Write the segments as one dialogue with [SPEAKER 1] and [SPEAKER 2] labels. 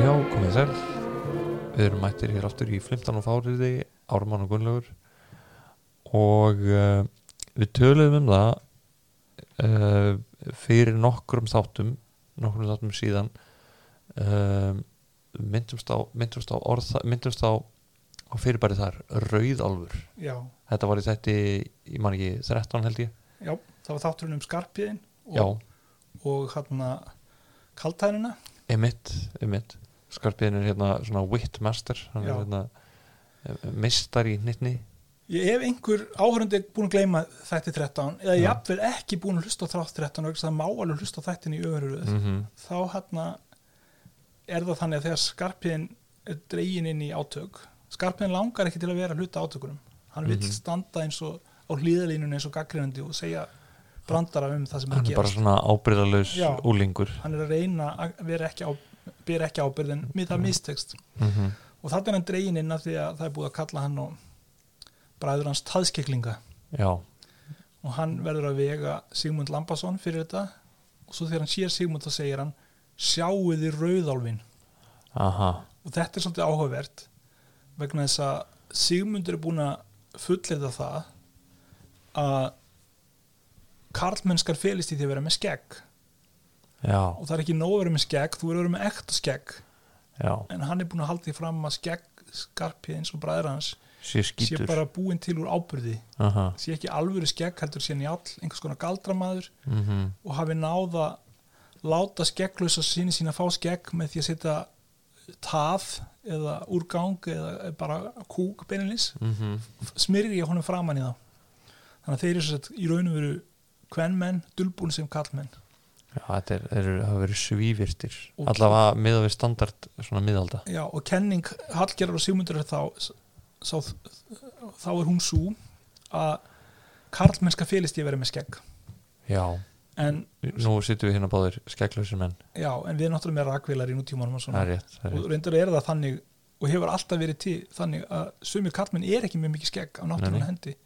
[SPEAKER 1] Já, komið sæl Við erum mættir hér aftur í Flimtan og Fáriði Ármann og Gunnlaugur og uh, við töluðum um það uh, fyrir nokkrum þáttum nokkrum þáttum síðan uh, myndumst á myndumst á, orða, myndumst á, á fyrirbæri þar, Rauðálfur
[SPEAKER 2] Já,
[SPEAKER 1] Þetta var í þetta, ég man ekki 13 held ég,
[SPEAKER 2] já, það var þátturinn um skarpiðin
[SPEAKER 1] já,
[SPEAKER 2] og, og hérna kaltæðina
[SPEAKER 1] emitt emitt, skarpiðin er hérna svona witmaster, hann er
[SPEAKER 2] Já.
[SPEAKER 1] hérna eh, meistari í hnitni
[SPEAKER 2] Ég ef einhver áhörandi er búin að gleyma þætti 13 eða
[SPEAKER 1] Já.
[SPEAKER 2] jafnvel ekki búin að hlusta á þrátt 13 og ekki það má alveg hlusta á þættin í öðru
[SPEAKER 1] mm
[SPEAKER 2] þá hérna er það þannig að þegar skarpiðin er dregin inn í átök skarpiðin langar ekki til að vera hluta átökunum hann vill
[SPEAKER 1] Mhm.
[SPEAKER 2] standa eins og á hlýðalínunni eins og gaggrindi og segja brandara um það sem er
[SPEAKER 1] hann
[SPEAKER 2] að
[SPEAKER 1] er bara
[SPEAKER 2] gerast
[SPEAKER 1] svona ábyrðalaus
[SPEAKER 2] Já.
[SPEAKER 1] úlingur
[SPEAKER 2] hann er að reyna að vera ekki á byrja ekki ábyrðin, mér það mistekst
[SPEAKER 1] mm
[SPEAKER 2] og þarna er hann dregin inn af því að það er búið að kalla hann og bræður hans taðskiklinga
[SPEAKER 1] já,
[SPEAKER 2] og hann verður að vega Sigmund Lambason fyrir þetta og svo þegar hann sér Sigmund þá segir hann sjáuði rauðálfin
[SPEAKER 1] aha
[SPEAKER 2] og þetta er svolítið áhugavert vegna þess að Sigmund er búin að fullirða það að karlmennskar félist í því að vera með skegg
[SPEAKER 1] já,
[SPEAKER 2] og það er ekki nóg að vera með skegg þú verður að vera með ekta skegg
[SPEAKER 1] já,
[SPEAKER 2] en hann er búin að halda því fram að skegg skarpið eins og bræður hans
[SPEAKER 1] sé
[SPEAKER 2] sé
[SPEAKER 1] skítur
[SPEAKER 2] bara búin til úr ábyrði
[SPEAKER 1] aha,
[SPEAKER 2] sé ekki alvöru skegg heldur sé njál einhvers konar galdramaður
[SPEAKER 1] mhm
[SPEAKER 2] og hafi náða láta skegglösa síni sína fá skegg með því að setja tað eða úrgang eða bara kúk beinilis
[SPEAKER 1] mhm,
[SPEAKER 2] smyrri ég honum framan í það þannig að þeir eru svo sett í raunum veru kvenmenn, dulbúin sem kallmenn
[SPEAKER 1] já, þetta er, er, hafa verið svívirtir
[SPEAKER 2] Og-
[SPEAKER 1] allavega miða við standard svona miðalda
[SPEAKER 2] Já, og kenning Hallgerðar og Sigmundur er þá, sá, þá er hún svo að karlmennska félist ég verið með skegg
[SPEAKER 1] já,
[SPEAKER 2] en
[SPEAKER 1] nú sittum við hérna báðir skegglausir menn,
[SPEAKER 2] Já, en við erum náttúrulega með rakvélar í nútímanum og
[SPEAKER 1] það
[SPEAKER 2] svona.
[SPEAKER 1] er rétt, það er
[SPEAKER 2] Og
[SPEAKER 1] rétt.
[SPEAKER 2] reyndar er það þannig og hefur alltaf verið til þannig að sumir kallmenn er ekki með mikið skegg á
[SPEAKER 1] Nei,
[SPEAKER 2] náttúrulega
[SPEAKER 1] nei.
[SPEAKER 2] hendi.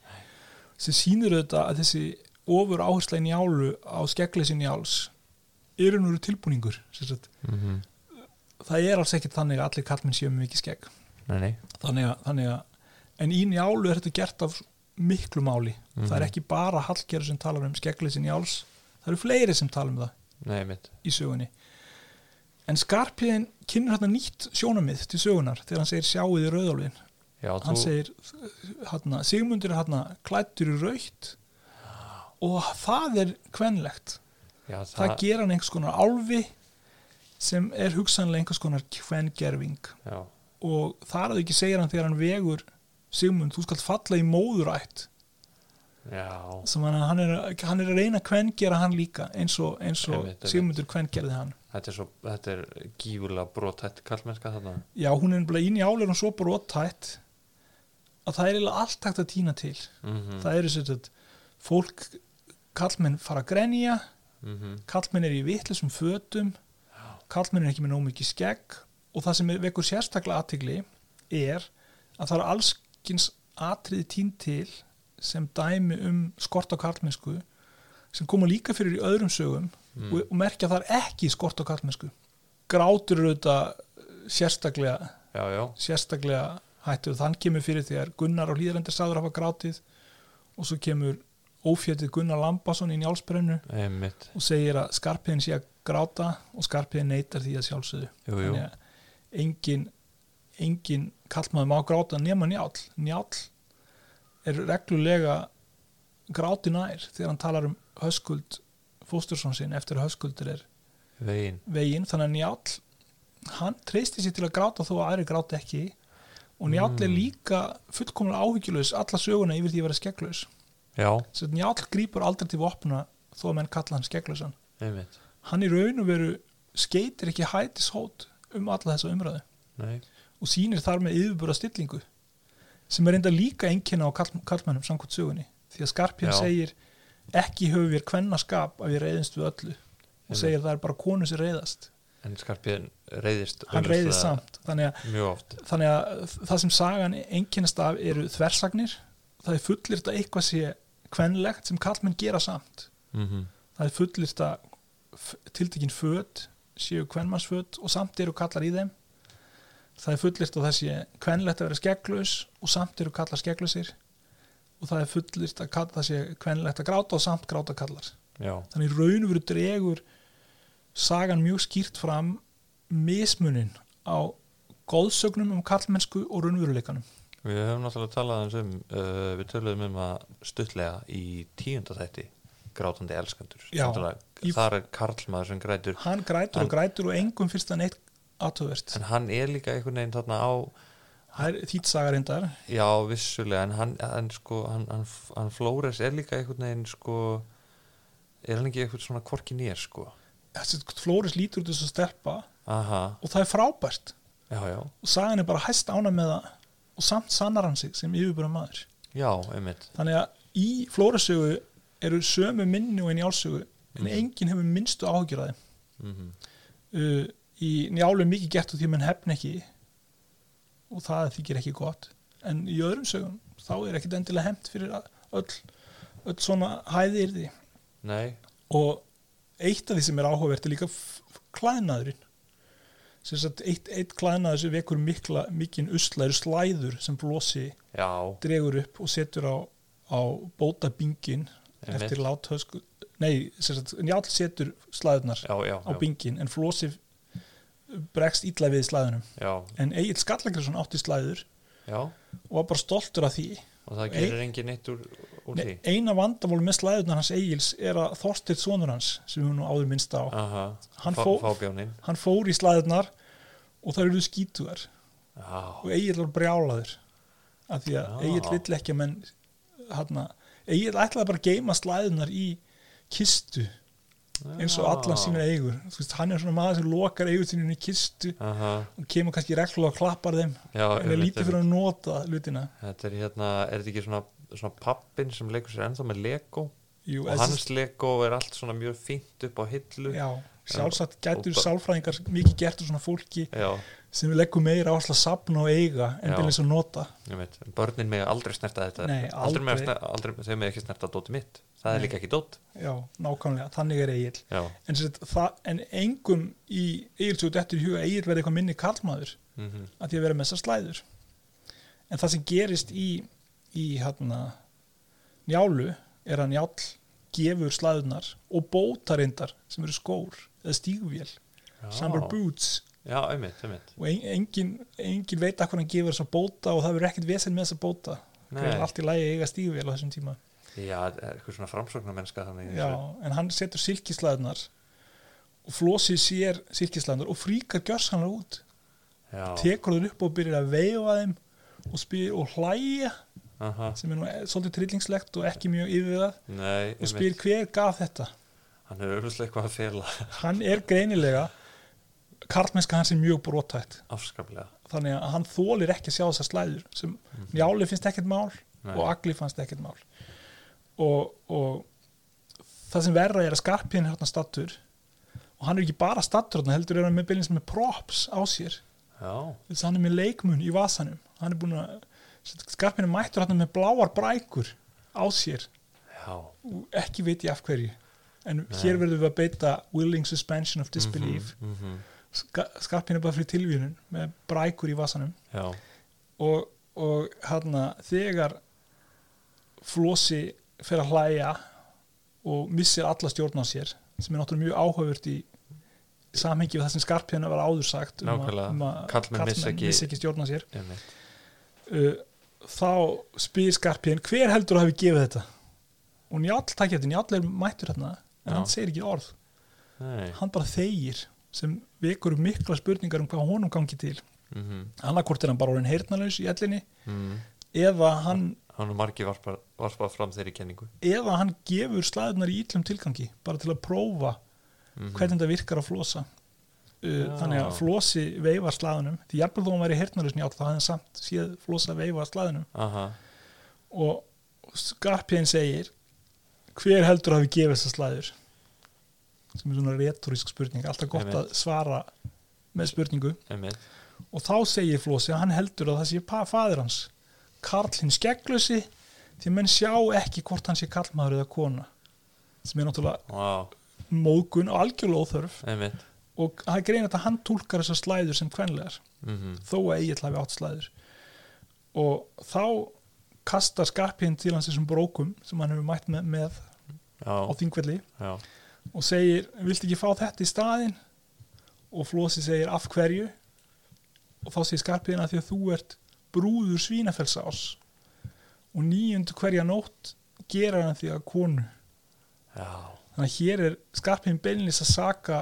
[SPEAKER 2] Sem sýnir auðvitað að þessi ofur áhersla í njálu á skeggleysi njáls eru nú tilbúningur. sem sagt.
[SPEAKER 1] Mhm.
[SPEAKER 2] Það er alls ekkit þannig að allir kallmenn séu með mikið skegg.
[SPEAKER 1] nei, nei
[SPEAKER 2] Þannig að, þannig að en í njálu er þetta gert af miklu máli. Það er
[SPEAKER 1] Mhm.
[SPEAKER 2] ekki bara hallgerður sem talar um skeggleysi njáls. Það eru fleiri sem tala um það
[SPEAKER 1] nei, mitt,
[SPEAKER 2] í sögunni en Skarpiðin kynir hérna nýtt sjónamið til sögunar þegar hann segir sjáuð í rauðálfin
[SPEAKER 1] já,
[SPEAKER 2] hann
[SPEAKER 1] þú
[SPEAKER 2] segir hérna, Sigmundur er hérna klættur í raukt og það er kvenlegt
[SPEAKER 1] já,
[SPEAKER 2] það, gera hann einhvers konar álfi sem er hugsanlega einhvers konar kvengerfing
[SPEAKER 1] já,
[SPEAKER 2] og þar að ekki segir hann þegar hann vegur Sigmund, þú skalt falla í móðurætt
[SPEAKER 1] já,
[SPEAKER 2] sem hann, hann, er, að- hann er að reyna að kvengera hann líka eins og, eins og
[SPEAKER 1] Einmitt, einmitt.
[SPEAKER 2] Sigmundur kvengerði hann
[SPEAKER 1] þetta er svo þetta er gífulega brotætt kallmennska þarna
[SPEAKER 2] Já, hún er bara inn í áleirun svo brottætt að það er eiginlega allt hægt að týna til.
[SPEAKER 1] mhm,
[SPEAKER 2] Það eru svolítið fólk, kallmenn fara að grenja,
[SPEAKER 1] mhm,
[SPEAKER 2] kallmenn er í vitlisum fötum, kallmenn er ekki með nóg mikið skegg og það sem er- vekur sérstaklega aðtigli er að það eru allskins atriði týnt til sem dæmi um skort á kallmennsku sem koma líka fyrir í öðrum sögum
[SPEAKER 1] Mm.
[SPEAKER 2] og, og merkja að það er ekki skort á kallmennsku. Grátur eru þetta eh, sérstaklega
[SPEAKER 1] já, já,
[SPEAKER 2] sérstaklega hættur þann kemur fyrir þegar Gunnar á Hlýðalendir sagður hafa grátið og svo kemur ófjöldið Gunnar Lambason í njálsbrennu
[SPEAKER 1] nei, mitt
[SPEAKER 2] og segir að skarpiðin sé að gráta og skarpiðin neytar því að sjálfsögðu
[SPEAKER 1] jú, jú,
[SPEAKER 2] að engin, engin kallmaður má gráta nema njál njál er reglulega gráti nær þegar hann talar um höskuld fóstursson sinn eftir að höskuldur er
[SPEAKER 1] vegin
[SPEAKER 2] veginn, þannig að Njáll hann treysti sér til að gráta þó að aðri gráta ekki og Njáll er
[SPEAKER 1] Mm.
[SPEAKER 2] líka fullkomlega áhyggjulaus alla söguna yfir því að vera skegglaus
[SPEAKER 1] já,
[SPEAKER 2] svo að Njáll grípur aldrei til vopna þó að menn kalla hann skegglausan
[SPEAKER 1] nei, mitt,
[SPEAKER 2] hann í raun og veru skeitir ekki hætishót um alla þessa umræðu
[SPEAKER 1] nei
[SPEAKER 2] og sýnir þar með yfirbúra stillingu sem er enda líka einkenna á karl, karlmennum samkvæmt sögunni því að Skarpjörn
[SPEAKER 1] Já.
[SPEAKER 2] segir ekki höfum við kvennaskap að við reyðumst við öllu og
[SPEAKER 1] Einmitt.
[SPEAKER 2] segir það er bara konu sem reyðast
[SPEAKER 1] En skarpiðin reyðist
[SPEAKER 2] hann
[SPEAKER 1] augljóslega
[SPEAKER 2] reyðist samt þannig að
[SPEAKER 1] Mjög oft
[SPEAKER 2] þannig að það sem sagan einkennast af eru þversagnir það er fullirt að eitthvað sé kvenlegt sem kallmenn gera samt
[SPEAKER 1] mm
[SPEAKER 2] það er fullirt að tiltekin föt séu kvenmannsföt og samt eru kallar í þeim það er fullirt að það sé kvenlegt að vera skegglaus og samt eru kallar skegglausir og það er fullirt að kall, það sé kvenlegt að gráta og samt gráta kallar
[SPEAKER 1] já,
[SPEAKER 2] þannig í raun og veru dregur sagan mjög skýrt fram mismunin á góðsögnum um kallmennsku og raunveruleikanum
[SPEAKER 1] við höfum náttúrulega talað eins um uh, við töluðum um að stuttlega í tíunda þætti grátandi elskandur
[SPEAKER 2] Já,
[SPEAKER 1] Náttúrulega,
[SPEAKER 2] í-
[SPEAKER 1] þar er karlmaður sem grætur
[SPEAKER 2] hann grætur og grætur og engum finnst það neitt aðtöðvert
[SPEAKER 1] en hann er líka einhvern veginn þarna á
[SPEAKER 2] það er þýtt saga reyndar
[SPEAKER 1] já, vissulega en hann, en sko, hann, hann, hann Flóres er líka einhvern veginn sko er hann ekki einhvern svona korki nýr sko
[SPEAKER 2] þessi Flóris lítur út þessu stelpa
[SPEAKER 1] aha,
[SPEAKER 2] og það er frábært
[SPEAKER 1] já, já,
[SPEAKER 2] og sagan er bara hæst ána með það og samt sannar hann sig sem yfirbúra maður
[SPEAKER 1] já, einmitt
[SPEAKER 2] þannig að í Flórissögu eru sömu minni og í njálsögu en enginn hefur minnstu áhyggjur af
[SPEAKER 1] mm
[SPEAKER 2] þeim uh, í njálu er mikið gert og því að menn hefn ekki og það þykir ekki gott en í öðrum sögum þá er ekkit endilega hefnt fyrir að- öll, öll svona hæði yrði
[SPEAKER 1] nei,
[SPEAKER 2] og eitt af því sem er áhugavert er líka f- f- klæðnaðurinn sem sagt eitt, eitt klæðnaður sem vekur mikla, mikinn usla eru slæður sem blosi
[SPEAKER 1] já,
[SPEAKER 2] dregur upp og setur á, á bóta bingin
[SPEAKER 1] Einmitt.
[SPEAKER 2] eftir láthösku nei, sem sagt, njál setur slæðunar
[SPEAKER 1] já, já,
[SPEAKER 2] á
[SPEAKER 1] já,
[SPEAKER 2] bingin en flosi bregst illa við slæðunum
[SPEAKER 1] já,
[SPEAKER 2] en Egil Skallagriðsson átti slæður
[SPEAKER 1] já
[SPEAKER 2] og var bara stoltur af því
[SPEAKER 1] og það
[SPEAKER 2] Nei.
[SPEAKER 1] gerir enginn eitt úr, úr því
[SPEAKER 2] Nei, eina vandamál með slæðunar hans Egils er að Þorstir sonur hans sem hún nú áður minnst á
[SPEAKER 1] aha,
[SPEAKER 2] Hann
[SPEAKER 1] Fá,
[SPEAKER 2] fó-
[SPEAKER 1] fábjónin
[SPEAKER 2] hann fór í slæðunar og það eruðu skítugar
[SPEAKER 1] já,
[SPEAKER 2] og Egil var brjálaður af því að
[SPEAKER 1] Já.
[SPEAKER 2] Egil vill ekki að menn hana, Egil ætlaði bara að geima slæðunar í kistu eins og allan sínar eigur Þú veist, hann er svona maður sem lokar eigur sínum í kistu
[SPEAKER 1] aha,
[SPEAKER 2] og kemur kannski reglulega og klappar þeim
[SPEAKER 1] já,
[SPEAKER 2] en er
[SPEAKER 1] einmitt,
[SPEAKER 2] lítið fyrir
[SPEAKER 1] einmitt.
[SPEAKER 2] að nota hlutina
[SPEAKER 1] þetta er hérna, er þetta ekki svona, svona pappin sem leikur sér ennþá með Lego
[SPEAKER 2] Jú,
[SPEAKER 1] og hans Lego er allt svona mjög fínt upp á hillu
[SPEAKER 2] já, sjálfsagt
[SPEAKER 1] Og
[SPEAKER 2] gætur
[SPEAKER 1] bara-
[SPEAKER 2] sálfræðingar mikið gert úr svona fólki
[SPEAKER 1] já
[SPEAKER 2] sem við leggum meira áherslu að sapna og eiga en
[SPEAKER 1] Já.
[SPEAKER 2] byrjum að nota
[SPEAKER 1] Ég veit, en börnin með aldrei snerta þetta
[SPEAKER 2] Nei,
[SPEAKER 1] aldrei, aldrei.
[SPEAKER 2] aldrei.
[SPEAKER 1] Snerta, aldrei þau með ekki snerta dóti mitt það er
[SPEAKER 2] Nei.
[SPEAKER 1] líka ekki dót
[SPEAKER 2] já, nákvæmlega, þannig er Egil
[SPEAKER 1] já,
[SPEAKER 2] en, sem, sagt, það, en engum í eigilsjóðu dettur í huga að eigil verði eitthvað minni karlmaður
[SPEAKER 1] mm
[SPEAKER 2] að því að vera með þessar slæður en það sem gerist í, í hérna, njálu er að njál gefur slæðunar og bótarindar sem eru skór eða stígvél,
[SPEAKER 1] já.
[SPEAKER 2] summer boots
[SPEAKER 1] Mhm. já, einmitt, einmitt
[SPEAKER 2] og en, engin, engin veit að hvað hann gefur þessar bóta og það verður ekkert vesen með þessar bóta það
[SPEAKER 1] Nei.
[SPEAKER 2] er allt í lagi að eiga stígvél á þessum tíma
[SPEAKER 1] já, það er eitthvað svona framsóknarmennska þannig
[SPEAKER 2] Já, en hann setur silkislæðunar og flósið sér silkislæðunar og fríkar gjörsanlega út
[SPEAKER 1] já.
[SPEAKER 2] tekur þeir upp og byrjar að veifa þeim og spyr og hlæja
[SPEAKER 1] Aha.
[SPEAKER 2] sem er nú e- svolítið trillingslegt og ekki mjög yfir það
[SPEAKER 1] Nei,
[SPEAKER 2] og spyr
[SPEAKER 1] einmitt,
[SPEAKER 2] hver gaf þetta
[SPEAKER 1] hann er auðvitað eitthvað að fela
[SPEAKER 2] hann er greinilega karlmennska hans er mjög brotætt
[SPEAKER 1] afskaplega
[SPEAKER 2] þannig að hann þólir ekki að sjá þessar slæður sem Njáli finnst ekkert mál
[SPEAKER 1] Mhm. Nei.
[SPEAKER 2] og Agli fannst ekkert mál og, og það sem verra er að skarpin er hérna stattur og hann er ekki bara stattur hérna heldur er hann með byrjins með props á sér
[SPEAKER 1] Já,
[SPEAKER 2] þess að hann er með leikmun í vasanum hann er búin að skarpin er mættur hérna með bláar brækur á sér
[SPEAKER 1] já,
[SPEAKER 2] og ekki veit ég af hverju en
[SPEAKER 1] Nei.
[SPEAKER 2] hér verðum við að beita willing suspension of disbelief mm
[SPEAKER 1] mm
[SPEAKER 2] skarpin er bara fyrir tilvíðun með brækur í vasanum
[SPEAKER 1] já,
[SPEAKER 2] og, og hérna þegar flosi fer að hlæja og missir alla stjórn á sér sem er náttúrulega mjög áhugavert í samhengi við það sem skarpjana var áður sagt um, að-
[SPEAKER 1] Nákvæmlega.
[SPEAKER 2] um að
[SPEAKER 1] Karlmenn missa ekki-
[SPEAKER 2] missi ekki stjórn á sér
[SPEAKER 1] einmitt
[SPEAKER 2] uh, þá spyr skarpjana hver heldur að hafi gefið þetta og njáll takk eftir, njáll er mættur hérna en
[SPEAKER 1] Já.
[SPEAKER 2] hann segir ekki orð,
[SPEAKER 1] Nei,
[SPEAKER 2] hann bara þegir sem vekur upp mikla spurningar um hvað honum gangi til
[SPEAKER 1] mhm,
[SPEAKER 2] annarkvort er hann bara orðin heyrnalaus í ellinni
[SPEAKER 1] mhm
[SPEAKER 2] eða hann
[SPEAKER 1] hann og margi varpað varpa fram þeirri kenningu
[SPEAKER 2] eða hann gefur slæðunar í illum tilgangi bara til að prófa
[SPEAKER 1] Mhm.
[SPEAKER 2] hvernig þetta virkar á flosa uh,
[SPEAKER 1] Já.
[SPEAKER 2] þannig að flosi veifar slæðunum því jafnvel þó hann væri heyrnarlösn játt þá hafði hann samt séð flosa veifa slæðunum
[SPEAKER 1] Aha,
[SPEAKER 2] og skarpiðin segir hver heldur að hafi gefið þessar slæður sem er svona retorísk spurning alltaf gott
[SPEAKER 1] Einmitt.
[SPEAKER 2] að svara með spurningu
[SPEAKER 1] einmitt
[SPEAKER 2] og þá segir flosi að hann heldur að það sé pa- faðir hans Karl hinn skegglusi því menn sjá ekki hvort hann sé karlmaður eða kona sem er náttúrulega
[SPEAKER 1] Vá,
[SPEAKER 2] mógun og algjörlega óþörf
[SPEAKER 1] einmitt
[SPEAKER 2] og það er greinat að hann túlkar þessar slæður sem kvenlegar
[SPEAKER 1] mhm,
[SPEAKER 2] þó að Egil hafi átt slæður og þá kastar skarpinn til hans þessum brókum sem hann hefur mætt með, með á
[SPEAKER 1] já,
[SPEAKER 2] þingvelli
[SPEAKER 1] já
[SPEAKER 2] og segir, viltu ekki fá þetta í staðinn og Flósi segir, af hverju og þá segir skarpiðin að því að þú ert brúður svínafelsás og nýjund hverja nótt gerar hann því að konu
[SPEAKER 1] já,
[SPEAKER 2] þannig að hér er skarpiðin beinlis að saka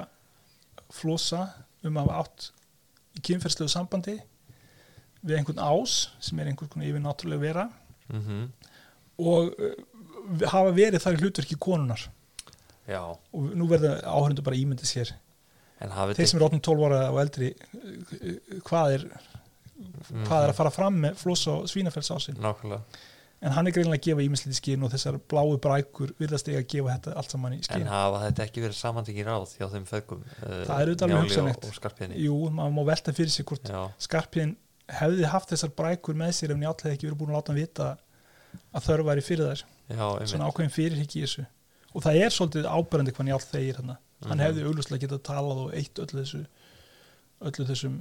[SPEAKER 2] Flósa um að hafa átt í kynferðslegu sambandi við einhvern ás sem er einhvern konar yfirnáttúrulega vera
[SPEAKER 1] mhm,
[SPEAKER 2] og uh, hafa verið þar í hlutverki konunar
[SPEAKER 1] já
[SPEAKER 2] og nú verður áhörundu bara ímyndið sér
[SPEAKER 1] en hafið
[SPEAKER 2] þeir sem eru 12 ára og eldri eh, hvað er, hvað er að fara fram með flossa og svínafells ásinn
[SPEAKER 1] nákvæmlega
[SPEAKER 2] en hann er greinlega að gefa ímislið í skinn og þessar bláu brækur virðast eiga að gefa þetta allt saman í
[SPEAKER 1] en
[SPEAKER 2] skinn
[SPEAKER 1] hafa þetta ekki verið samantekið ráð hjá þeim feðgum uh,
[SPEAKER 2] Það er auðvitað alveg
[SPEAKER 1] Njáli
[SPEAKER 2] hugsanlegt.
[SPEAKER 1] og, og skarpiðinni
[SPEAKER 2] jú, maður má velta fyrir sér hvort
[SPEAKER 1] já,
[SPEAKER 2] skarpiðin hefði haft þessar brækur með sér ef njáttlega ekki verið búin að láta hann vita að þörf væri fyrir þær
[SPEAKER 1] já, einmitt
[SPEAKER 2] svona ákveðin fyrirhyggi í þessu og það er svolítið áberandi hvað njáll þegir hann hann
[SPEAKER 1] Mhm.
[SPEAKER 2] hefði auglustlega getað talað og eitt öllu þessu öllu þessum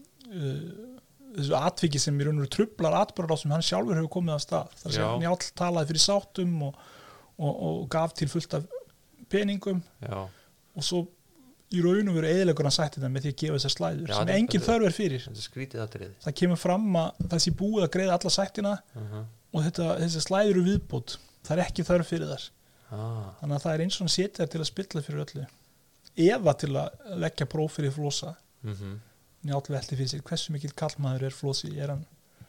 [SPEAKER 2] uh, þessu atviki sem í raun og veru trublar atbyrðar á sem hann sjálfur hefur komið af stað þar
[SPEAKER 1] Já.
[SPEAKER 2] sem njáll talaði fyrir sáttum og, og, og gaf til fullt af peningum
[SPEAKER 1] já,
[SPEAKER 2] og svo í raun og veru eðilegur hann sætti þetta með því að gefa þessar slæður
[SPEAKER 1] Já,
[SPEAKER 2] sem
[SPEAKER 1] þetta-
[SPEAKER 2] engin þörf er fyrir
[SPEAKER 1] þetta er skrítið aðrið
[SPEAKER 2] það kemur fram að það sé búið að greiða alla sættina
[SPEAKER 1] uh -huh.
[SPEAKER 2] og þetta, þessi slæður eru viðbútt það er ekki þörf fyrir þar
[SPEAKER 1] ah,
[SPEAKER 2] þannig að það er eins og hann setjar til að spilla fyrir öllu eða til að leggja próf fyrir flosa
[SPEAKER 1] mm
[SPEAKER 2] njátt velti fyrir sér hversu mikill kallmaður er flosi er hann,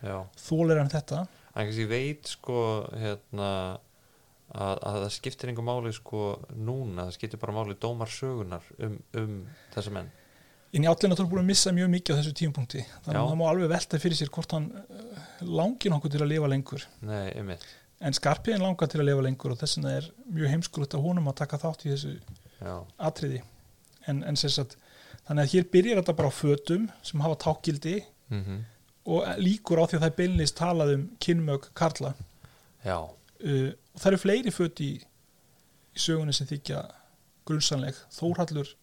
[SPEAKER 1] já
[SPEAKER 2] þólir hann þetta
[SPEAKER 1] hann kannski veit sko hérna að, að það skiptir engu máli sko núna, það skiptir bara máli dómar sögunar um, um þessa menn
[SPEAKER 2] en njátt er náttúrulega búin að missa mjög mikið á þessu tímapunkti þannig
[SPEAKER 1] Já.
[SPEAKER 2] að það má alveg velta fyrir sér hvort hann eh, langir nokkuð til að lifa lengur
[SPEAKER 1] nei, um einmitt,
[SPEAKER 2] en skarpiðin langar til að lifa lengur og þess vegna er mjög heimskulegt að honum að taka þátt í þessu
[SPEAKER 1] já,
[SPEAKER 2] atriði en, en sem sagt, þannig að hér byrjar þetta bara á fötum sem hafa tákgildi
[SPEAKER 1] mhm
[SPEAKER 2] og líkur á því að það er beinlist talað um kynmög karla
[SPEAKER 1] já,
[SPEAKER 2] uh, og það eru fleiri föt í, í sögunni sem þykja grunnsanleg, Þórhallur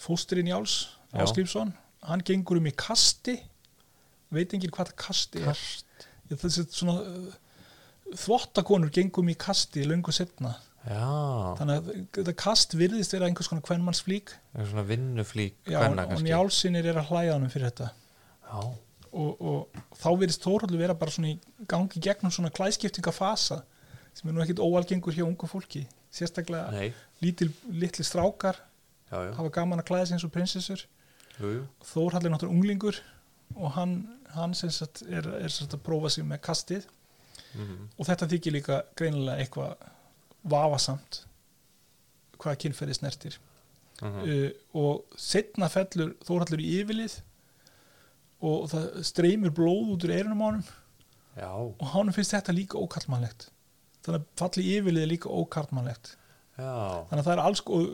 [SPEAKER 2] fósturinn Jáls
[SPEAKER 1] Já.
[SPEAKER 2] Áskrifsson, hann gengur um í kasti veit enginn hvað það kasti er
[SPEAKER 1] kast
[SPEAKER 2] Ég, þessi svona uh, þvottakonur gengur um í kasti löngu setna
[SPEAKER 1] já,
[SPEAKER 2] þannig að þetta kast virðist vera einhvers konar kvenmannsflík
[SPEAKER 1] eitthvað svona vinnuflík
[SPEAKER 2] Já, og,
[SPEAKER 1] hvenna
[SPEAKER 2] og
[SPEAKER 1] kannski
[SPEAKER 2] Njálsinir er að hlæða honum fyrir þetta
[SPEAKER 1] já,
[SPEAKER 2] og, og þá verðist Þórhaldur vera bara svona í gangi gegnum svona klæskiptingafasa sem er nú ekkit óalgengur hjá ungu fólki sérstaklega
[SPEAKER 1] nei,
[SPEAKER 2] lítil, litli strákar
[SPEAKER 1] já, já,
[SPEAKER 2] hafa gaman að klæða sig eins og prinsessur
[SPEAKER 1] jú, jú
[SPEAKER 2] Þórhall er náttúrulega unglingur og hann, hann sem sagt er, er sem sagt að prófa sig með kastið
[SPEAKER 1] mhm,
[SPEAKER 2] og þetta þykir líka greinilega eitthvað vafasamt hvaða kynferði snertir
[SPEAKER 1] mhm,
[SPEAKER 2] uh, og setna fellur Þórhallur í yfirlið og það streymur blóð út úr eyrunum á honum
[SPEAKER 1] já,
[SPEAKER 2] og honum finnst þetta líka ókarlmannlegt þannig að falli yfirlið er líka ókarlmannlegt
[SPEAKER 1] já
[SPEAKER 2] þannig að það er alls og,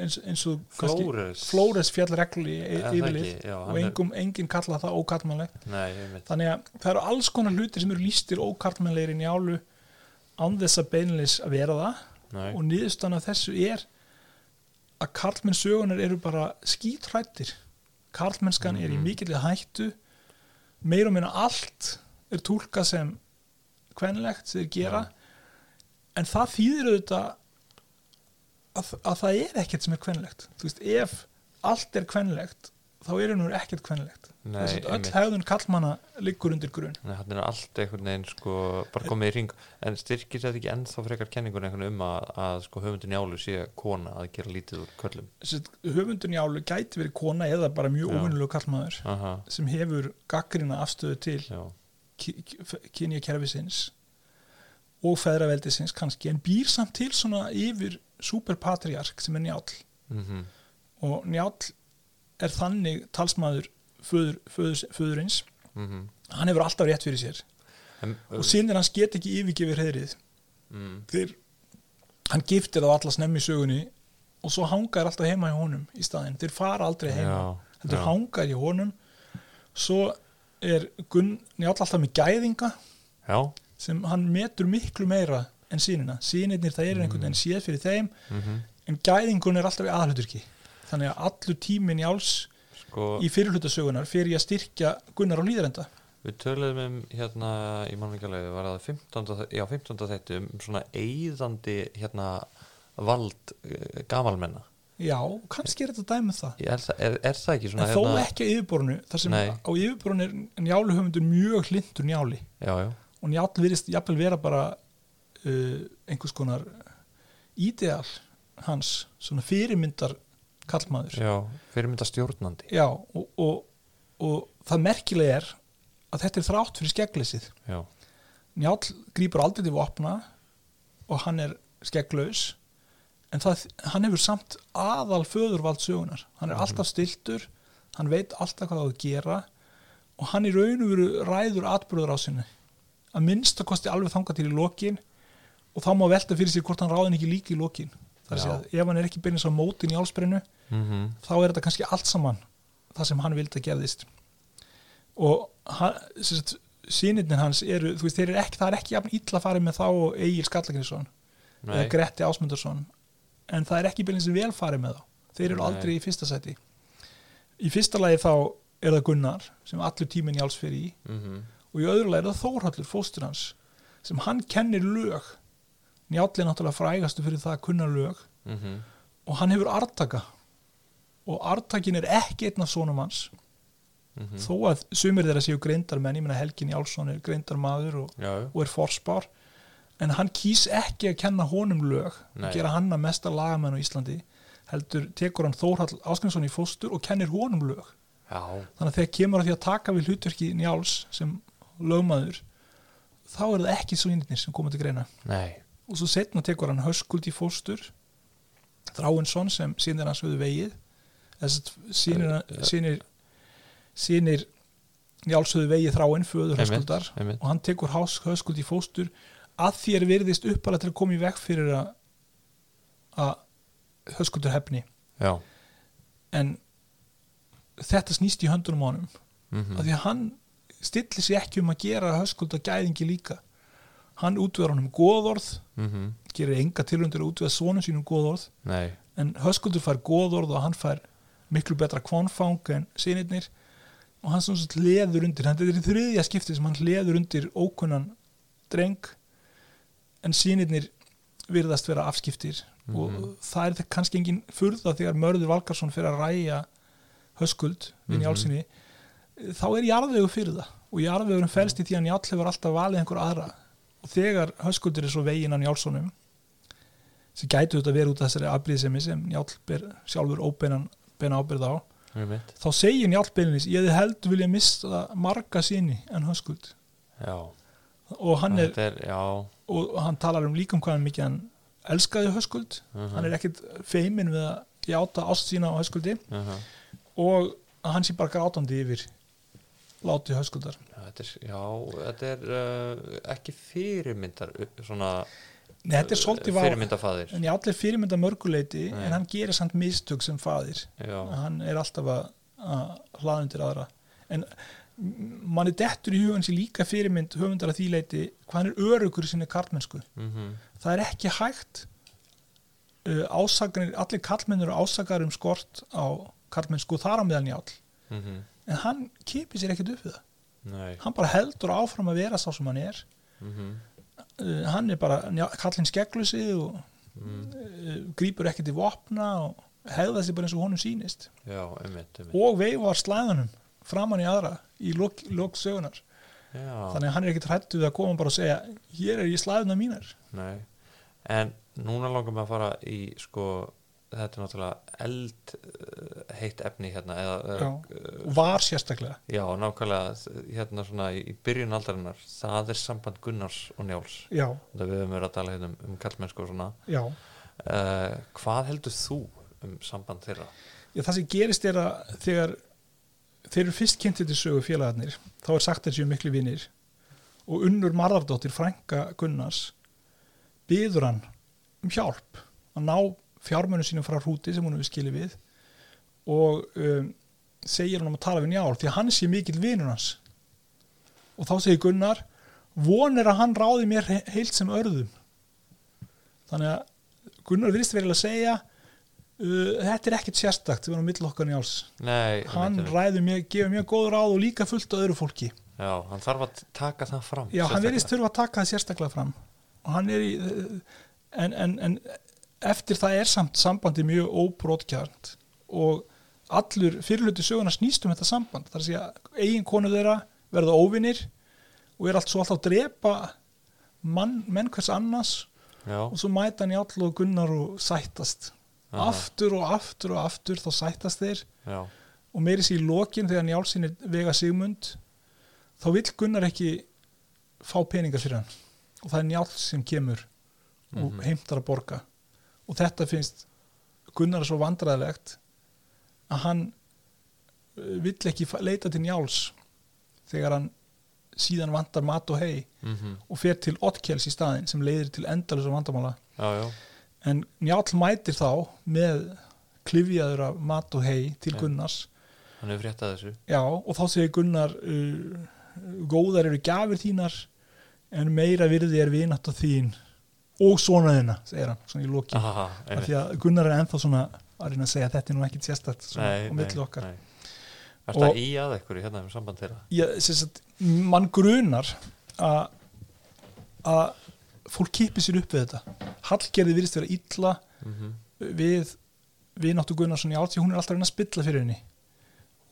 [SPEAKER 2] eins, eins og
[SPEAKER 1] Flóres.
[SPEAKER 2] Flóres fjall reglu í
[SPEAKER 1] Er
[SPEAKER 2] e-
[SPEAKER 1] það
[SPEAKER 2] yfirlið
[SPEAKER 1] ekki? Já, hann
[SPEAKER 2] og
[SPEAKER 1] er-
[SPEAKER 2] engum, enginn kalla það ókarlmannlegt
[SPEAKER 1] nei, um einmitt,
[SPEAKER 2] þannig að það eru alls konar hlutir sem eru lístir ókarlmannlegir í njálu án þess að beinleis að vera það
[SPEAKER 1] nei
[SPEAKER 2] og niðurstaðan af þessu er að karlmenn sögunar eru bara skítrættir karlmennskan er í
[SPEAKER 1] Mhm.
[SPEAKER 2] mikillega hættu meir og minna allt er túlka sem kvenlegt sem þeir gera en það þýðir auðvitað að, að það er ekkert sem er kvenlegt þú veist, ef allt er kvenlegt þá er hann ekkert kvenlegt
[SPEAKER 1] Nei,
[SPEAKER 2] þess að öll
[SPEAKER 1] einmitt.
[SPEAKER 2] hefðun karlmanna liggur undir grun
[SPEAKER 1] Nei, hann er allt einhvern veginn sko bara komið í ring, en styrkir þetta ekki ennþá frekar kenningun einhvern um að, að sko höfundin Njálu sé kona að gera lítið úr köllum
[SPEAKER 2] Þess að höfundun í álu gæti verið kona eða bara mjög
[SPEAKER 1] Já.
[SPEAKER 2] óvinnulegu karlmaður
[SPEAKER 1] Aha,
[SPEAKER 2] sem hefur gaggrina afstöðu til
[SPEAKER 1] já,
[SPEAKER 2] kynja kerfisins og feðraveldisins kannski en býr samt til svona yfir superpatriark sem er njáll
[SPEAKER 1] mhm
[SPEAKER 2] og njáll er þannig talsmaður föður, föður, föðurins
[SPEAKER 1] mhm
[SPEAKER 2] hann hefur alltaf rétt fyrir sér
[SPEAKER 1] en,
[SPEAKER 2] og sínir hans get ekki yfirgefið hreðrið
[SPEAKER 1] mm,
[SPEAKER 2] þeir, hann giftir þá alla snemmi í sögunni og svo hangar alltaf heima hjá honum í staðinn, þeir fara aldrei heima
[SPEAKER 1] Já,
[SPEAKER 2] heldur
[SPEAKER 1] já.
[SPEAKER 2] hangar hjá honum svo er Gunn njáll alltaf með gæðinga
[SPEAKER 1] já,
[SPEAKER 2] sem hann metur miklu meira en sínina sínirnir það er einhvern veginn séð fyrir þeim
[SPEAKER 1] mhm
[SPEAKER 2] en gæðingun er alltaf í aðhluturki þannig að allur tímin Njáls
[SPEAKER 1] sko,
[SPEAKER 2] í fyrirlutasögunar fyrir ég að styrkja Gunnar á líðarenda
[SPEAKER 1] Við töluðum um hérna í mannvíkjalegu var það 15. þe- Já, 15. þetta um svona eigðandi hérna vald eh, gamalmenna
[SPEAKER 2] já, kannski er þetta dæmið það
[SPEAKER 1] er, það- er, er það ekki svona
[SPEAKER 2] en þó
[SPEAKER 1] hérna,
[SPEAKER 2] ekki á yfirborunu þar sem
[SPEAKER 1] Nei.
[SPEAKER 2] á yfirborunu er Njálu höfundur mjög hlindur Njáli
[SPEAKER 1] Já, já,
[SPEAKER 2] og Njáll virðist jafnvel vera bara uh, einhvers konar ídeal hans svona fyrirmyndar kallmaður
[SPEAKER 1] já, fyrirmynda stjórnandi
[SPEAKER 2] Já, og, og, og það merkilega er að þetta er þrátt fyrir skeggleysið.
[SPEAKER 1] Já,
[SPEAKER 2] Njáll grýpur aldrei til vopna og hann er skegglaus en það, hann hefur samt aðal föðurvald sögunar. Hann er alltaf stiltur, hann veit alltaf hvað það á að gera og hann í raun og veru ræður atbyrður á sinni. Að minnsta kosti alveg þanga til í lokin og þá má velta fyrir sér hvort hann ráðin ekki líka í lokin. Það er að
[SPEAKER 1] Já.
[SPEAKER 2] segja að ef hann er ekki beinins á mótin í álsbrennu
[SPEAKER 1] mhm
[SPEAKER 2] þá er þetta kannski allt saman það sem hann vildi að gerðist og hann, sem sagt, sínirnir hans eru, þú veist, þeir eru ekki það er ekki jafn illa farið með þá og Egil Skallagrinsson eða
[SPEAKER 1] Nei,
[SPEAKER 2] Gretti Ásmundarsson en það er ekki byrjins vel farið með þá þeir eru
[SPEAKER 1] Nei.
[SPEAKER 2] aldrei í fyrsta seti í fyrsta lagi þá er það Gunnar sem allur tíminn í alls fyrir í
[SPEAKER 1] mhm
[SPEAKER 2] og í öðru lagi er það Þórhallur fóstur hans sem hann kennir lög Njáll er náttúrulega frægastu fyrir það að kunna lög
[SPEAKER 1] mhm
[SPEAKER 2] og hann hefur artaka og artakin er ekki einn af sonum hans
[SPEAKER 1] mhm.
[SPEAKER 2] þó að sumir þeirra séu greindar menn, ég meina Helgin Jálsson er greindar maður og,
[SPEAKER 1] Já, já,
[SPEAKER 2] og er forspár en hann kýs ekki að kenna honum lög
[SPEAKER 1] Nei.
[SPEAKER 2] og gera hann að mesta lagamenn á Íslandi heldur tekur hann Þórhall Áskrinsson í fóstur og kennir honum lög
[SPEAKER 1] já,
[SPEAKER 2] þannig að þegar kemur að því að taka við hlutverki Njáls sem lögmaður þá er það ekki svinirnir sem koma til greina
[SPEAKER 1] nei
[SPEAKER 2] og svo setna tekur hann Höskuld í fóstur Þráinsson sem sínir hans höfðu vegið þess að sínir Njáls höfðu vegið þráin föður
[SPEAKER 1] Einmitt,
[SPEAKER 2] Höskuldar
[SPEAKER 1] einmitt.
[SPEAKER 2] og hann tekur Hás- Höskuld í fóstur að því er virðist uppalega til að koma í veg fyrir að að Höskuldur hefni
[SPEAKER 1] Já,
[SPEAKER 2] en þetta snýst í höndunum á honum
[SPEAKER 1] mhm
[SPEAKER 2] af því að hann stillir sér ekki um að gera Höskulda gæðingi líka hann útvegar honum góðorð
[SPEAKER 1] mhm,
[SPEAKER 2] gerir enga tilhundur að útvega svonum sínum góðorð
[SPEAKER 1] Nei,
[SPEAKER 2] en höskuldur fær góðorð og hann fær miklu betra kvonfang en sinirnir og hann svona svona leður undir þetta er í þriðja skipti sem hann leður undir ókunnan dreng en sinirnir virðast vera afskiptir og það er það kannski engin furða þegar Mörður Valkarsson fyrir að ræja höskuld inn í álsinni þá er jarðvegur fyrir það og jarðvegurinn felst í því að Njáll hefur alltaf valið einhver aðra og þegar höskuldur er svo veginn að Njálssonum sem gætu þetta verið út af þessari afbríðsemi sem Njáll ber sjálfur óbeinan beina ábyrð á
[SPEAKER 1] einmitt
[SPEAKER 2] þá segir Njáll beinis ég hefði heldur vilja mista marga síni en höskuld
[SPEAKER 1] Já,
[SPEAKER 2] og hann, er,
[SPEAKER 1] þetta er, já
[SPEAKER 2] og hann talar um líkum hvað hann mikið hann elskaði höskuld
[SPEAKER 1] mhm,
[SPEAKER 2] hann er ekkit feimin við að játa ást sína á höskuldi
[SPEAKER 1] mhm.
[SPEAKER 2] og að hann sé bara grátandi yfir láti höskuldar
[SPEAKER 1] Já, Þetta er, já, þetta er uh, ekki fyrirmyndar upp- svona
[SPEAKER 2] Nei, þetta er svolítið vá
[SPEAKER 1] fyrirmyndafaðir
[SPEAKER 2] en ég allir fyrirmynda mörguleiti
[SPEAKER 1] Nei.
[SPEAKER 2] en hann gerir samt mistök sem faðir
[SPEAKER 1] Já,
[SPEAKER 2] hann er alltaf að, að hlaða undir aðra en m- manni dettur í hugansi líka fyrirmynd höfundar að því leiti hvað hann er örugur í sinni karlmennsku
[SPEAKER 1] mhm,
[SPEAKER 2] það er ekki hægt uh, ásakanir, allir karlmenn eru ásakar um skort á karlmennsku þar á meðan njál
[SPEAKER 1] mhm,
[SPEAKER 2] en hann kipir sér ekkert upp við það
[SPEAKER 1] nei
[SPEAKER 2] hann bara heldur áfram að vera sá sem hann er
[SPEAKER 1] mhm,
[SPEAKER 2] uh, hann er bara njá- kallinn skegglusi og
[SPEAKER 1] mhm.
[SPEAKER 2] uh, grýpur ekki til vopna og hegða sér bara eins og honum sýnist
[SPEAKER 1] Já, einmitt, einmitt
[SPEAKER 2] og veifar slæðanum framan í aðra í lok, lok sögunar
[SPEAKER 1] Já,
[SPEAKER 2] þannig að hann er ekkit hrættu við að koma bara og segja hér er ég slæðuna mínar
[SPEAKER 1] nei En núna langar mig að fara í sko, þetta er náttúrulega eld uh, heitt efni hérna eða, eða uh,
[SPEAKER 2] og var sérstaklega
[SPEAKER 1] Já, nákvæmlega hérna svona í í byrjun aldarinnar það er samband Gunnars og Njáls
[SPEAKER 2] já,
[SPEAKER 1] þetta við höfum verið að tala hérna um, um kallmennsku og svona
[SPEAKER 2] já.
[SPEAKER 1] uh, hvað heldur þú um samband þeirra?
[SPEAKER 2] Já, það sem gerist er að þegar þeir eru fyrst kynntið til sögu félagarnir þá er sagt þessi um miklu vinnir og unnur Marðardóttir frænka Gunnars byður hann um hjálp að ná fjármönu sínum frá hrúti sem hún hefur skilið við og um, segir hann um að tala við njál því að hann sé mikill vinnur hans og þá segir Gunnar vonir að hann ráði mér he- heilt sem örðum þannig að Gunnar virðist verið að segja uh, þetta er ekkert sérstakt við erum á milli okkar njáls
[SPEAKER 1] Nei,
[SPEAKER 2] hann
[SPEAKER 1] einmitt,
[SPEAKER 2] ræður mjög, gefur mjög góð ráð og líka fullt á öðru fólki
[SPEAKER 1] já, hann þarf að taka það fram
[SPEAKER 2] já, hann
[SPEAKER 1] sérstaklega.
[SPEAKER 2] verðist þurfa að taka það sérstaklega fram og hann er í uh, en, en, en eftir það er samt sambandi mjög óbrótkjarnt og allur fyrirluti söguna snýst um þetta samband þar að segja eigin konu þeirra verða óvinir og er allt svo alltaf að drepa mann, menn hvers annars
[SPEAKER 1] já,
[SPEAKER 2] og svo mæta hann í all og gunnar og sættast
[SPEAKER 1] Aha.
[SPEAKER 2] aftur og aftur og aftur þá sættast þeir
[SPEAKER 1] já,
[SPEAKER 2] og meiri sér í lokin þegar Njálsson er vega Sigmund þá vill Gunnar ekki fá peninga fyrir hann og það er Njáls sem kemur og heimtar að borga og þetta finnst Gunnar svo vandræðilegt að hann eh, vill ekki fa- leita til Njáls þegar hann síðan vantar mat og hei
[SPEAKER 1] mm
[SPEAKER 2] og fer til Ottkels í staðin sem leiðir til endalusum vandamála
[SPEAKER 1] já, já
[SPEAKER 2] en Njál mætir þá með klifjaður af mat og hei til
[SPEAKER 1] Já.
[SPEAKER 2] Gunnars
[SPEAKER 1] hann hefur fréttað þessu
[SPEAKER 2] Já, og þá segir Gunnar uh, góðar eru gjafir þínar en meira virði er vinatta þín og svona þina, segir hann, svona í loki af
[SPEAKER 1] Aha, einmitt.
[SPEAKER 2] því að Gunnar er ennþá svona að reyna að segja að þetta er nú ekkit sérstætt svona á milli okkar
[SPEAKER 1] nei. Ertu
[SPEAKER 2] Og-
[SPEAKER 1] að í að ekkur í hérna um samband þeirra?
[SPEAKER 2] Ég, sem sagt, mann grunar að að fólk kipir sér upp við þetta Hallgerði virðist vera illa
[SPEAKER 1] Mm -hmm.
[SPEAKER 2] við vináttu Gunnarsson í átt því hún er alltaf að reyna að spilla fyrir henni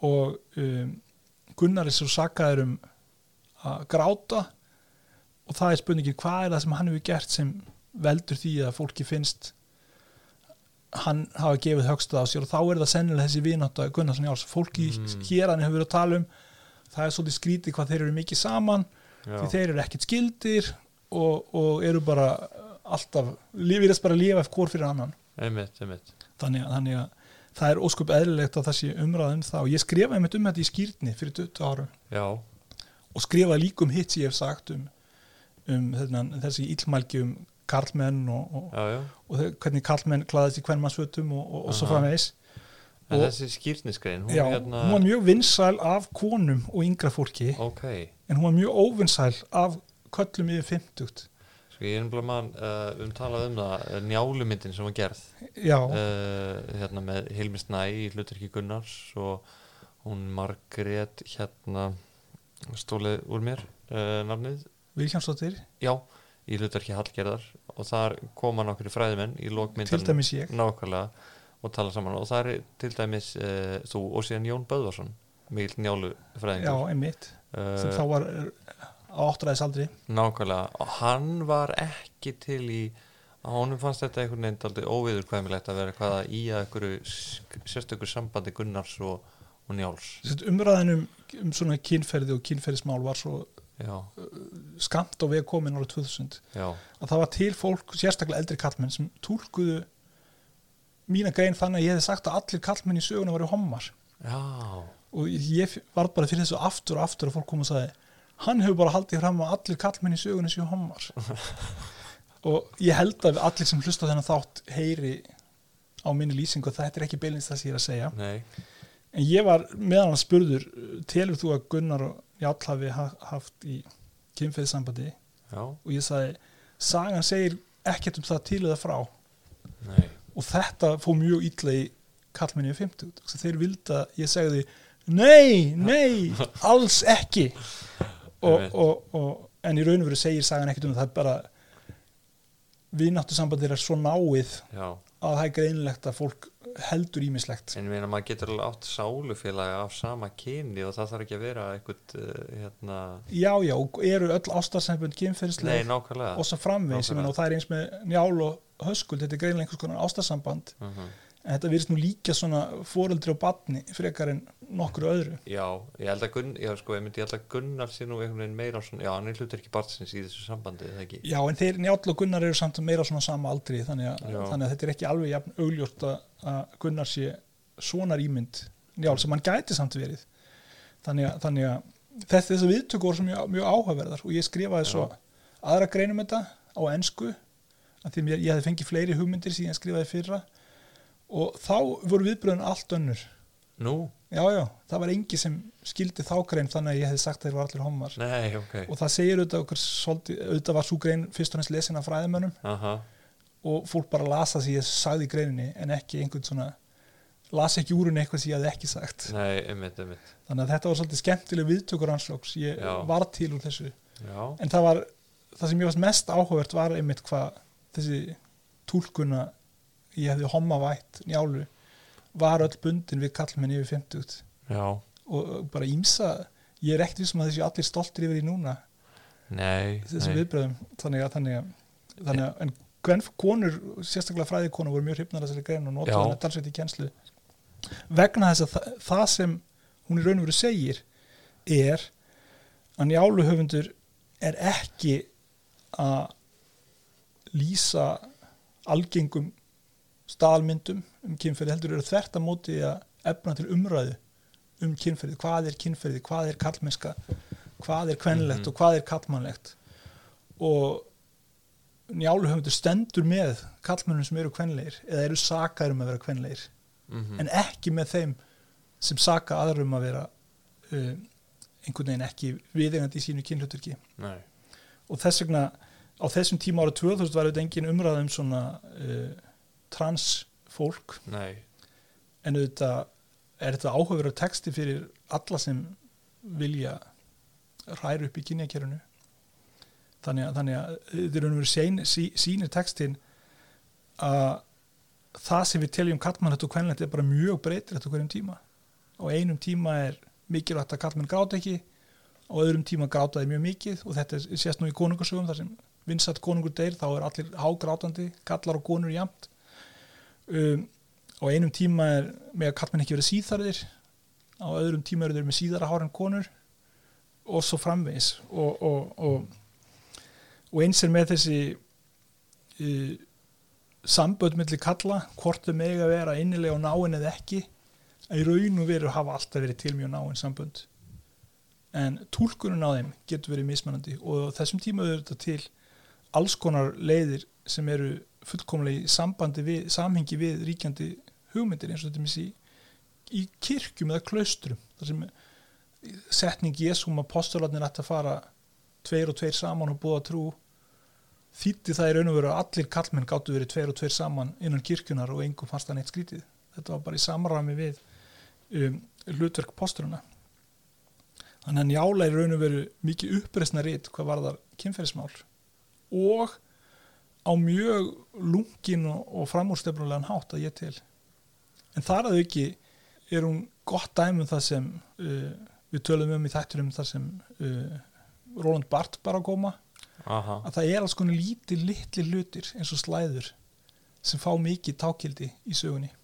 [SPEAKER 2] og um, Gunnar er svo sakaður um að gráta og það er spurningin hvað er það sem hann hefur gert sem veldur því að fólki finnst hann hafa gefið högsta á sér og þá er það sennilega þessi vináttu að Gunnarsson í átt fólki
[SPEAKER 1] Mm.
[SPEAKER 2] hér hann hefur verið að tala um það er svolítið skrítið hvað þeir eru mikið saman því þeir eru ekkert skildir og, og eru bara alltaf, lífirist bara að lifa eftir hvort fyrir annan
[SPEAKER 1] einmitt, einmitt
[SPEAKER 2] þannig, að- þannig að það er ósköp eðlilegt að það sé umræða um það og ég skrifaði einmitt um þetta í skýrni fyrir 20 árum
[SPEAKER 1] já,
[SPEAKER 2] og skrifaði líka um hitt sem ég hef sagt um, um þennan, þessi illmælgi um karlmenn og, og,
[SPEAKER 1] já, já
[SPEAKER 2] og þe- hvernig karlmenn klæðist í kvennmannsfötum og, og, og svo
[SPEAKER 1] Aha.
[SPEAKER 2] framvegis
[SPEAKER 1] en
[SPEAKER 2] Og-
[SPEAKER 1] þessi skýrnisgrein, hún
[SPEAKER 2] Já,
[SPEAKER 1] hérna
[SPEAKER 2] hún var mjög vinsæl af konum og yngra fólki
[SPEAKER 1] ok,
[SPEAKER 2] en hún var mjög óvinsæl af köllum yfir 50
[SPEAKER 1] sko ég er einnig mann uh, umtalað um það, uh, njálumyndin sem var gerð
[SPEAKER 2] Já,
[SPEAKER 1] uh, hérna með Hilmi Snæ í hluturki Gunnars og hún Margrét hérna stólið úr mér uh, nafnið,
[SPEAKER 2] Vilhjámsdóttir,
[SPEAKER 1] já í hluturki Hallgerðar og þar koma nokkri fræðimenn í
[SPEAKER 2] til
[SPEAKER 1] lokmyndan
[SPEAKER 2] dæmis ég
[SPEAKER 1] nákvæmlega og tala saman og það er til dæmis uh, þú og síðan Jón Böðvarsson mikill njálu
[SPEAKER 2] Já,
[SPEAKER 1] fræðingur
[SPEAKER 2] einmitt, sem
[SPEAKER 1] uh,
[SPEAKER 2] þá var er, á áttræðisaldri
[SPEAKER 1] nákvæmlega og hann var ekki til í að honum fannst þetta einhvern veginn aldrei óviðurkvæmilegt að vera hvaða í að einhverju sk- sérstöku sambandi Gunnars og, og Njáls
[SPEAKER 2] Sett umræðin um, um svona kynferði og kynferðismál var svo
[SPEAKER 1] já,
[SPEAKER 2] skamt á veg komin árið 2000
[SPEAKER 1] já,
[SPEAKER 2] að það var til fólk, sérstaklega eldri kallmenn sem túlkuðu mína grein þannig að ég hefði sagt að allir kallmenn í söguna varu hommar
[SPEAKER 1] já
[SPEAKER 2] og ég var bara fyrir þessu aftur og aftur að fólk kom og sagði hann hefur bara haldið fram að allir kallmenn í söguna séu hommar og ég held að allir sem hlusta á þennan þátt heyri á minni lýsingu að þetta er ekki beilins það sem ég er að segja
[SPEAKER 1] nei,
[SPEAKER 2] En ég var meðan að spurður, uh, telur þú að Gunnar og Jáll hafi ha- haft í kynferðisambandi
[SPEAKER 1] já,
[SPEAKER 2] og ég sagði, sagan segir ekkert um það til eða frá og
[SPEAKER 1] nei
[SPEAKER 2] þetta fó mjög illa í kallmenni og 50 Þess að þeir vildi að ég segði, nei, nei, alls ekki og,
[SPEAKER 1] Einmitt.
[SPEAKER 2] og, og, en í raun og veru segir sagan ekkert um það, það er bara vináttu sambandir er svo náið
[SPEAKER 1] já,
[SPEAKER 2] að það er greinilegt að fólk heldur ímislegt
[SPEAKER 1] en ég meina maður getur alveg átt sálufélaga af sama kyni og það þarf ekki að vera einhvern uh, hérna,
[SPEAKER 2] Já, já, og eru öll ástarsambund kynferðisleg
[SPEAKER 1] nei, nákvæmlega
[SPEAKER 2] og svo framvegis, ég meina, og það er eins með njál og höskuld, þetta er greinlega einhvers konar ástarsamband
[SPEAKER 1] uh
[SPEAKER 2] en þetta virðist nú líka svona foreldri og batni frekar en nokkru öðru
[SPEAKER 1] Já, ég held að Gunnar, já sko, ég myndi ég held að Gunnar sé nú einhvern veginn meira svona, já, hann er hlutur ekki barnsins í þessu sambandi, eða ekki?
[SPEAKER 2] Já, en þeir njál og Gunnar eru samt meira svona sama aldri þannig að,
[SPEAKER 1] Já.
[SPEAKER 2] þannig að þetta er ekki alveg jafn augljóst að- að Gunnar sé svonar ímynd njál sem hann gæti samt verið þannig að, þannig að þetta þessar viðtöku voru svo mjög, mjög áhugaverðar og ég skrifaði svo aðra greinum þetta á ensku að því mér, ég hefði fengið fleiri hugmyndir síðan ég skrifaði í fyrra og þá voru viðbröðin allt önnur
[SPEAKER 1] Nú?
[SPEAKER 2] já já, það var engi sem skildi þá grein þannig að ég hefði sagt að þeir var allir hommar
[SPEAKER 1] Nei, ok.
[SPEAKER 2] og það segir auðvitað okkur svolítið, auðvitað var svo grein fyrst og næst lesin af fræðimönnum
[SPEAKER 1] Aha,
[SPEAKER 2] og fólk bara lasa því að sagði í greininni en ekki einhvern svona lasa ekki úr henni eitthvað sem ég hafði ekki sagt
[SPEAKER 1] Nei, einmitt, einmitt
[SPEAKER 2] þannig að þetta var svolítið skemmtileg viðtökur rannsóks ég
[SPEAKER 1] Já.
[SPEAKER 2] var til úr þessu
[SPEAKER 1] Já,
[SPEAKER 2] en það var, það sem ég varst mest áhugavert var einmitt hvað þessi túlkuna ég hefði hommavætt njálu var öll bundin við kallmenn yfir 50
[SPEAKER 1] já,
[SPEAKER 2] og og bara ímsa ég er ekkert vissum að þessi allir stoltir yfir í núna
[SPEAKER 1] nei,
[SPEAKER 2] þessum
[SPEAKER 1] nei.
[SPEAKER 2] viðbröðum þannig að, þannig að, þannig að en gven, konur, sérstaklega fræðikonur voru mjög hrifnar að þessari grein og
[SPEAKER 1] Já.
[SPEAKER 2] notaði hann talsveit í kjenslu vegna þess að það, það sem hún í raun og veru segir er að njáluhöfundur er ekki að lýsa algengum staðalmyndum um kynferði heldur eru þvert að móti að efna til umræðu um kynferði, hvað er kynferði, hvað er kallmennska hvað er kvenlegt
[SPEAKER 1] Mhm.
[SPEAKER 2] og hvað er kallmannlegt og njáluhöfundur stendur með kallmennum sem eru kvenleir eða eru sakaður um að vera kvenleir
[SPEAKER 1] Mhm.
[SPEAKER 2] en ekki með þeim sem saka aðrum að vera uh, einhvern veginn ekki viðegandi í sínu kynhluturki
[SPEAKER 1] nei.
[SPEAKER 2] og þess vegna á þessum tíma ára 2000 var auðvitað engin umræða um svona uh, trans fólk
[SPEAKER 1] nei,
[SPEAKER 2] en auðvitað er þetta áhugaverður texti fyrir alla sem vilja ræra upp í kynjakerinu þannig að, þannig að þetta er unnur sín, sí, sínir textin að það sem við teljum kallmannlegt og kvenlegt er bara mjög breytilegt á hverjum tíma á einum tíma er mikilvægt að kallmenn gráta ekki á öðrum tíma gráta þeir mjög mikið og þetta er- sést nú í konungarsögum þar sem vinsat konungur deyr þá er allir hágrátandi kallar og konur jæmt um, á einum tíma er með að kallmenn ekki verið síðarðir á öðrum tíma eru þeir með síðara hár en konur og svo framvegis og, og, og, og eins er með þessi uh, samböld milli kalla, hvort þau mega vera innilega og náin eða ekki að í raun og veru hafa alltaf verið til mjög náin sambönd en túlkunum á þeim getur verið mismunandi og á þessum tíma eru þetta til alls konar leiðir sem eru fullkomlega í sambandi við, samhengi við ríkjandi hugmyndir eins og þetta missi í, í kirkjum eða klaustrum þar sem setning Jésum að postularnir ætti að fara tveir og tveir saman og búa trú þýtti það í raun og veru að allir kallmenn gáttu verið tveir og tveir saman innan kirkjunar og engum fannst það neitt skrítið þetta var bara í samræmi við um, hlutverk posturuna þannig að njála er í raun og veru mikið uppreisna rít hvað var þar kynferðismál og á mjög lungin og, og framúrstefnulegan hátt að ég til en þar að auki er hún gott dæmi um það sem uh, við tölum um í þætturum þar sem uh, Roland Barth bara að koma
[SPEAKER 1] aha
[SPEAKER 2] að það er alls konar lítið litli hlutir eins og slæður sem fá mikið tákildi í sögunni